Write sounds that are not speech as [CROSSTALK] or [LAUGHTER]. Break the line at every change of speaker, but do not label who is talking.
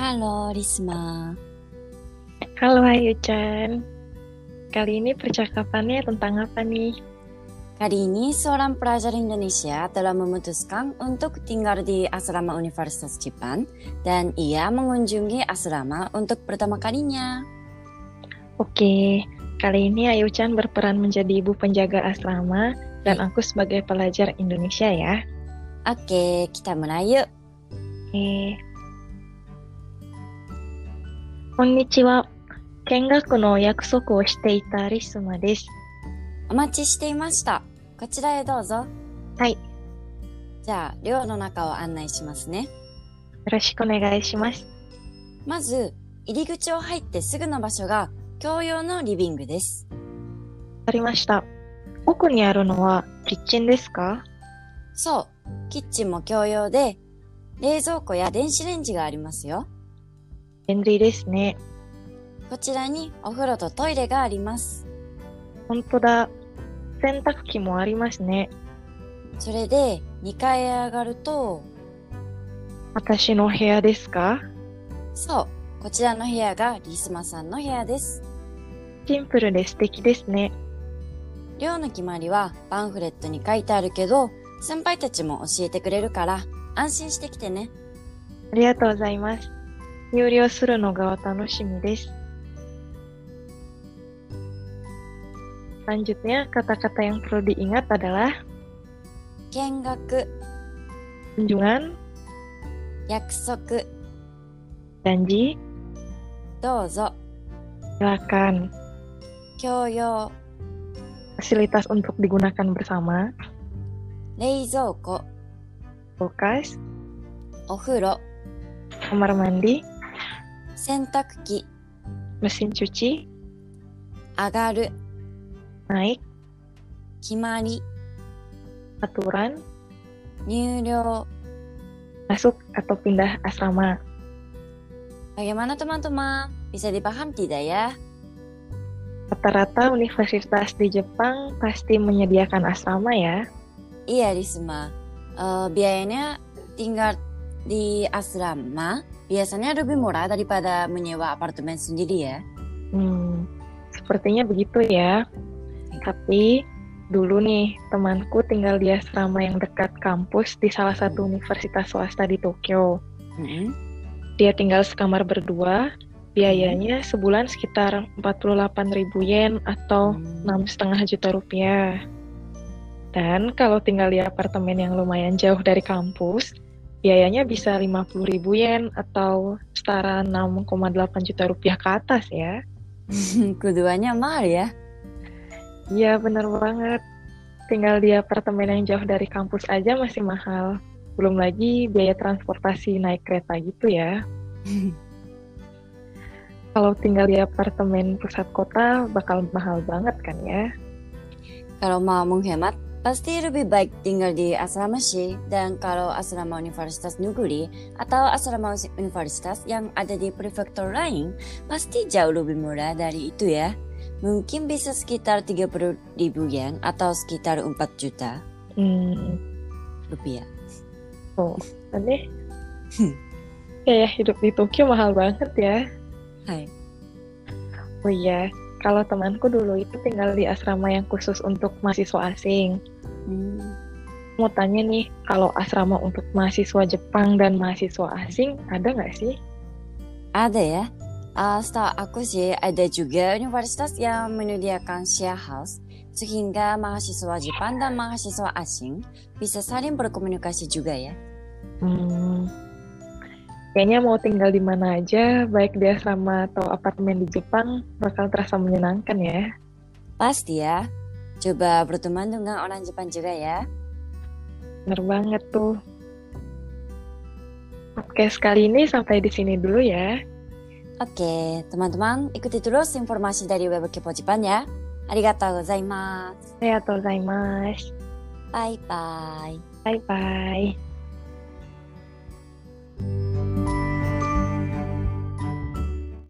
Halo Risma.
Halo Ayu Chan. Kali ini percakapannya tentang apa nih?
Kali ini seorang pelajar Indonesia telah memutuskan untuk tinggal di asrama Universitas Jepang dan ia mengunjungi asrama untuk pertama kalinya.
Oke, kali ini Ayu Chan berperan menjadi ibu penjaga asrama dan aku sebagai pelajar Indonesia ya.
Oke, kita mulai yuk.
Eh. Konnichiwa. Kengaku no yakusoku o shite ita Risuma desu.
お待ちしていました。こちらへどうぞ。
はい。
じゃあ、寮の中を案内しますね。
よろしくお願いします。
まず、入り口を入ってすぐの場所が共用のリビングです。
わかりました。奥にあるのはキッチンですか
そう、キッチンも共用で、冷蔵庫や電子レンジがありますよ。
便利ですね。
こちらにお風呂とトイレがあります。
ほんとだ。洗濯機もありますね。
それで、2階へ上がると、
私の部屋ですか
そう、こちらの部屋がリスマさんの部屋です。
シンプルで素敵ですね。
寮の決まりはパンフレットに書いてあるけど、先輩たちも教えてくれるから、安心してきてね。
ありがとうございます。入寮するのがお楽しみです。Selanjutnya, kata-kata yang perlu diingat adalah
見学、
kunjungan,
約束、
janji,
どうぞ、
silakan,
共用、
fasilitas untuk digunakan bersama,
冷蔵庫、
kulkas,
お風呂、
kamar mandi,
洗濯機、
mesin cuci,
上がる、
naik,
決まり、
aturan,
入寮。
masuk atau pindah asrama.
Bagaimana teman-teman? Bisa dipaham tidak ya?
Rata-rata universitas di Jepang pasti menyediakan asrama ya.
Iya Risma, Eh, biayanya tinggal di asrama biasanya lebih murah daripada menyewa apartemen sendiri ya.
Hmm, sepertinya begitu ya. Tapi dulu nih, temanku tinggal di asrama yang dekat kampus di salah satu universitas swasta di Tokyo. Dia tinggal sekamar berdua, biayanya sebulan sekitar 48.000 yen atau 6,5 juta rupiah. Dan kalau tinggal di apartemen yang lumayan jauh dari kampus, biayanya bisa 50.000 yen atau setara 6,8 juta rupiah ke atas ya.
[LAUGHS] Keduanya mahal ya.
Iya bener banget. Tinggal di apartemen yang jauh dari kampus aja masih mahal. Belum lagi biaya transportasi naik kereta gitu ya. Kalau tinggal di apartemen pusat kota bakal mahal banget kan ya.
Kalau mau menghemat, pasti lebih baik tinggal di asrama sih. Dan kalau asrama universitas negeri atau asrama us- universitas yang ada di prefektur lain, pasti jauh lebih murah dari itu ya. Mungkin bisa sekitar 30 ribu yen atau sekitar 4 juta
Hmm,
rupiah.
aneh.
Hmm.
Kayak hidup di Tokyo mahal banget ya.
Hai.
Oh iya, kalau temanku dulu itu tinggal di asrama yang khusus untuk mahasiswa asing.
Hmm.
Mau tanya nih, kalau asrama untuk mahasiswa Jepang dan mahasiswa asing ada nggak sih?
Ada ya. Ah, setahu aku sih ada juga universitas yang menyediakan share house sehingga mahasiswa Jepang dan mahasiswa asing bisa saling berkomunikasi juga ya.
Hmm. Kayaknya mau tinggal di mana aja, baik di asrama atau apartemen di Jepang, bakal terasa menyenangkan ya.
Pasti ya. Coba berteman dengan orang Jepang juga ya.
Bener banget tuh. Podcast kali ini sampai di sini dulu ya.
Oke, teman-teman ikuti terus informasi dari Web Kepo Jepang ya. Arigatou gozaimasu.
Saya Gozaimasu.
Bye bye.
Bye-bye.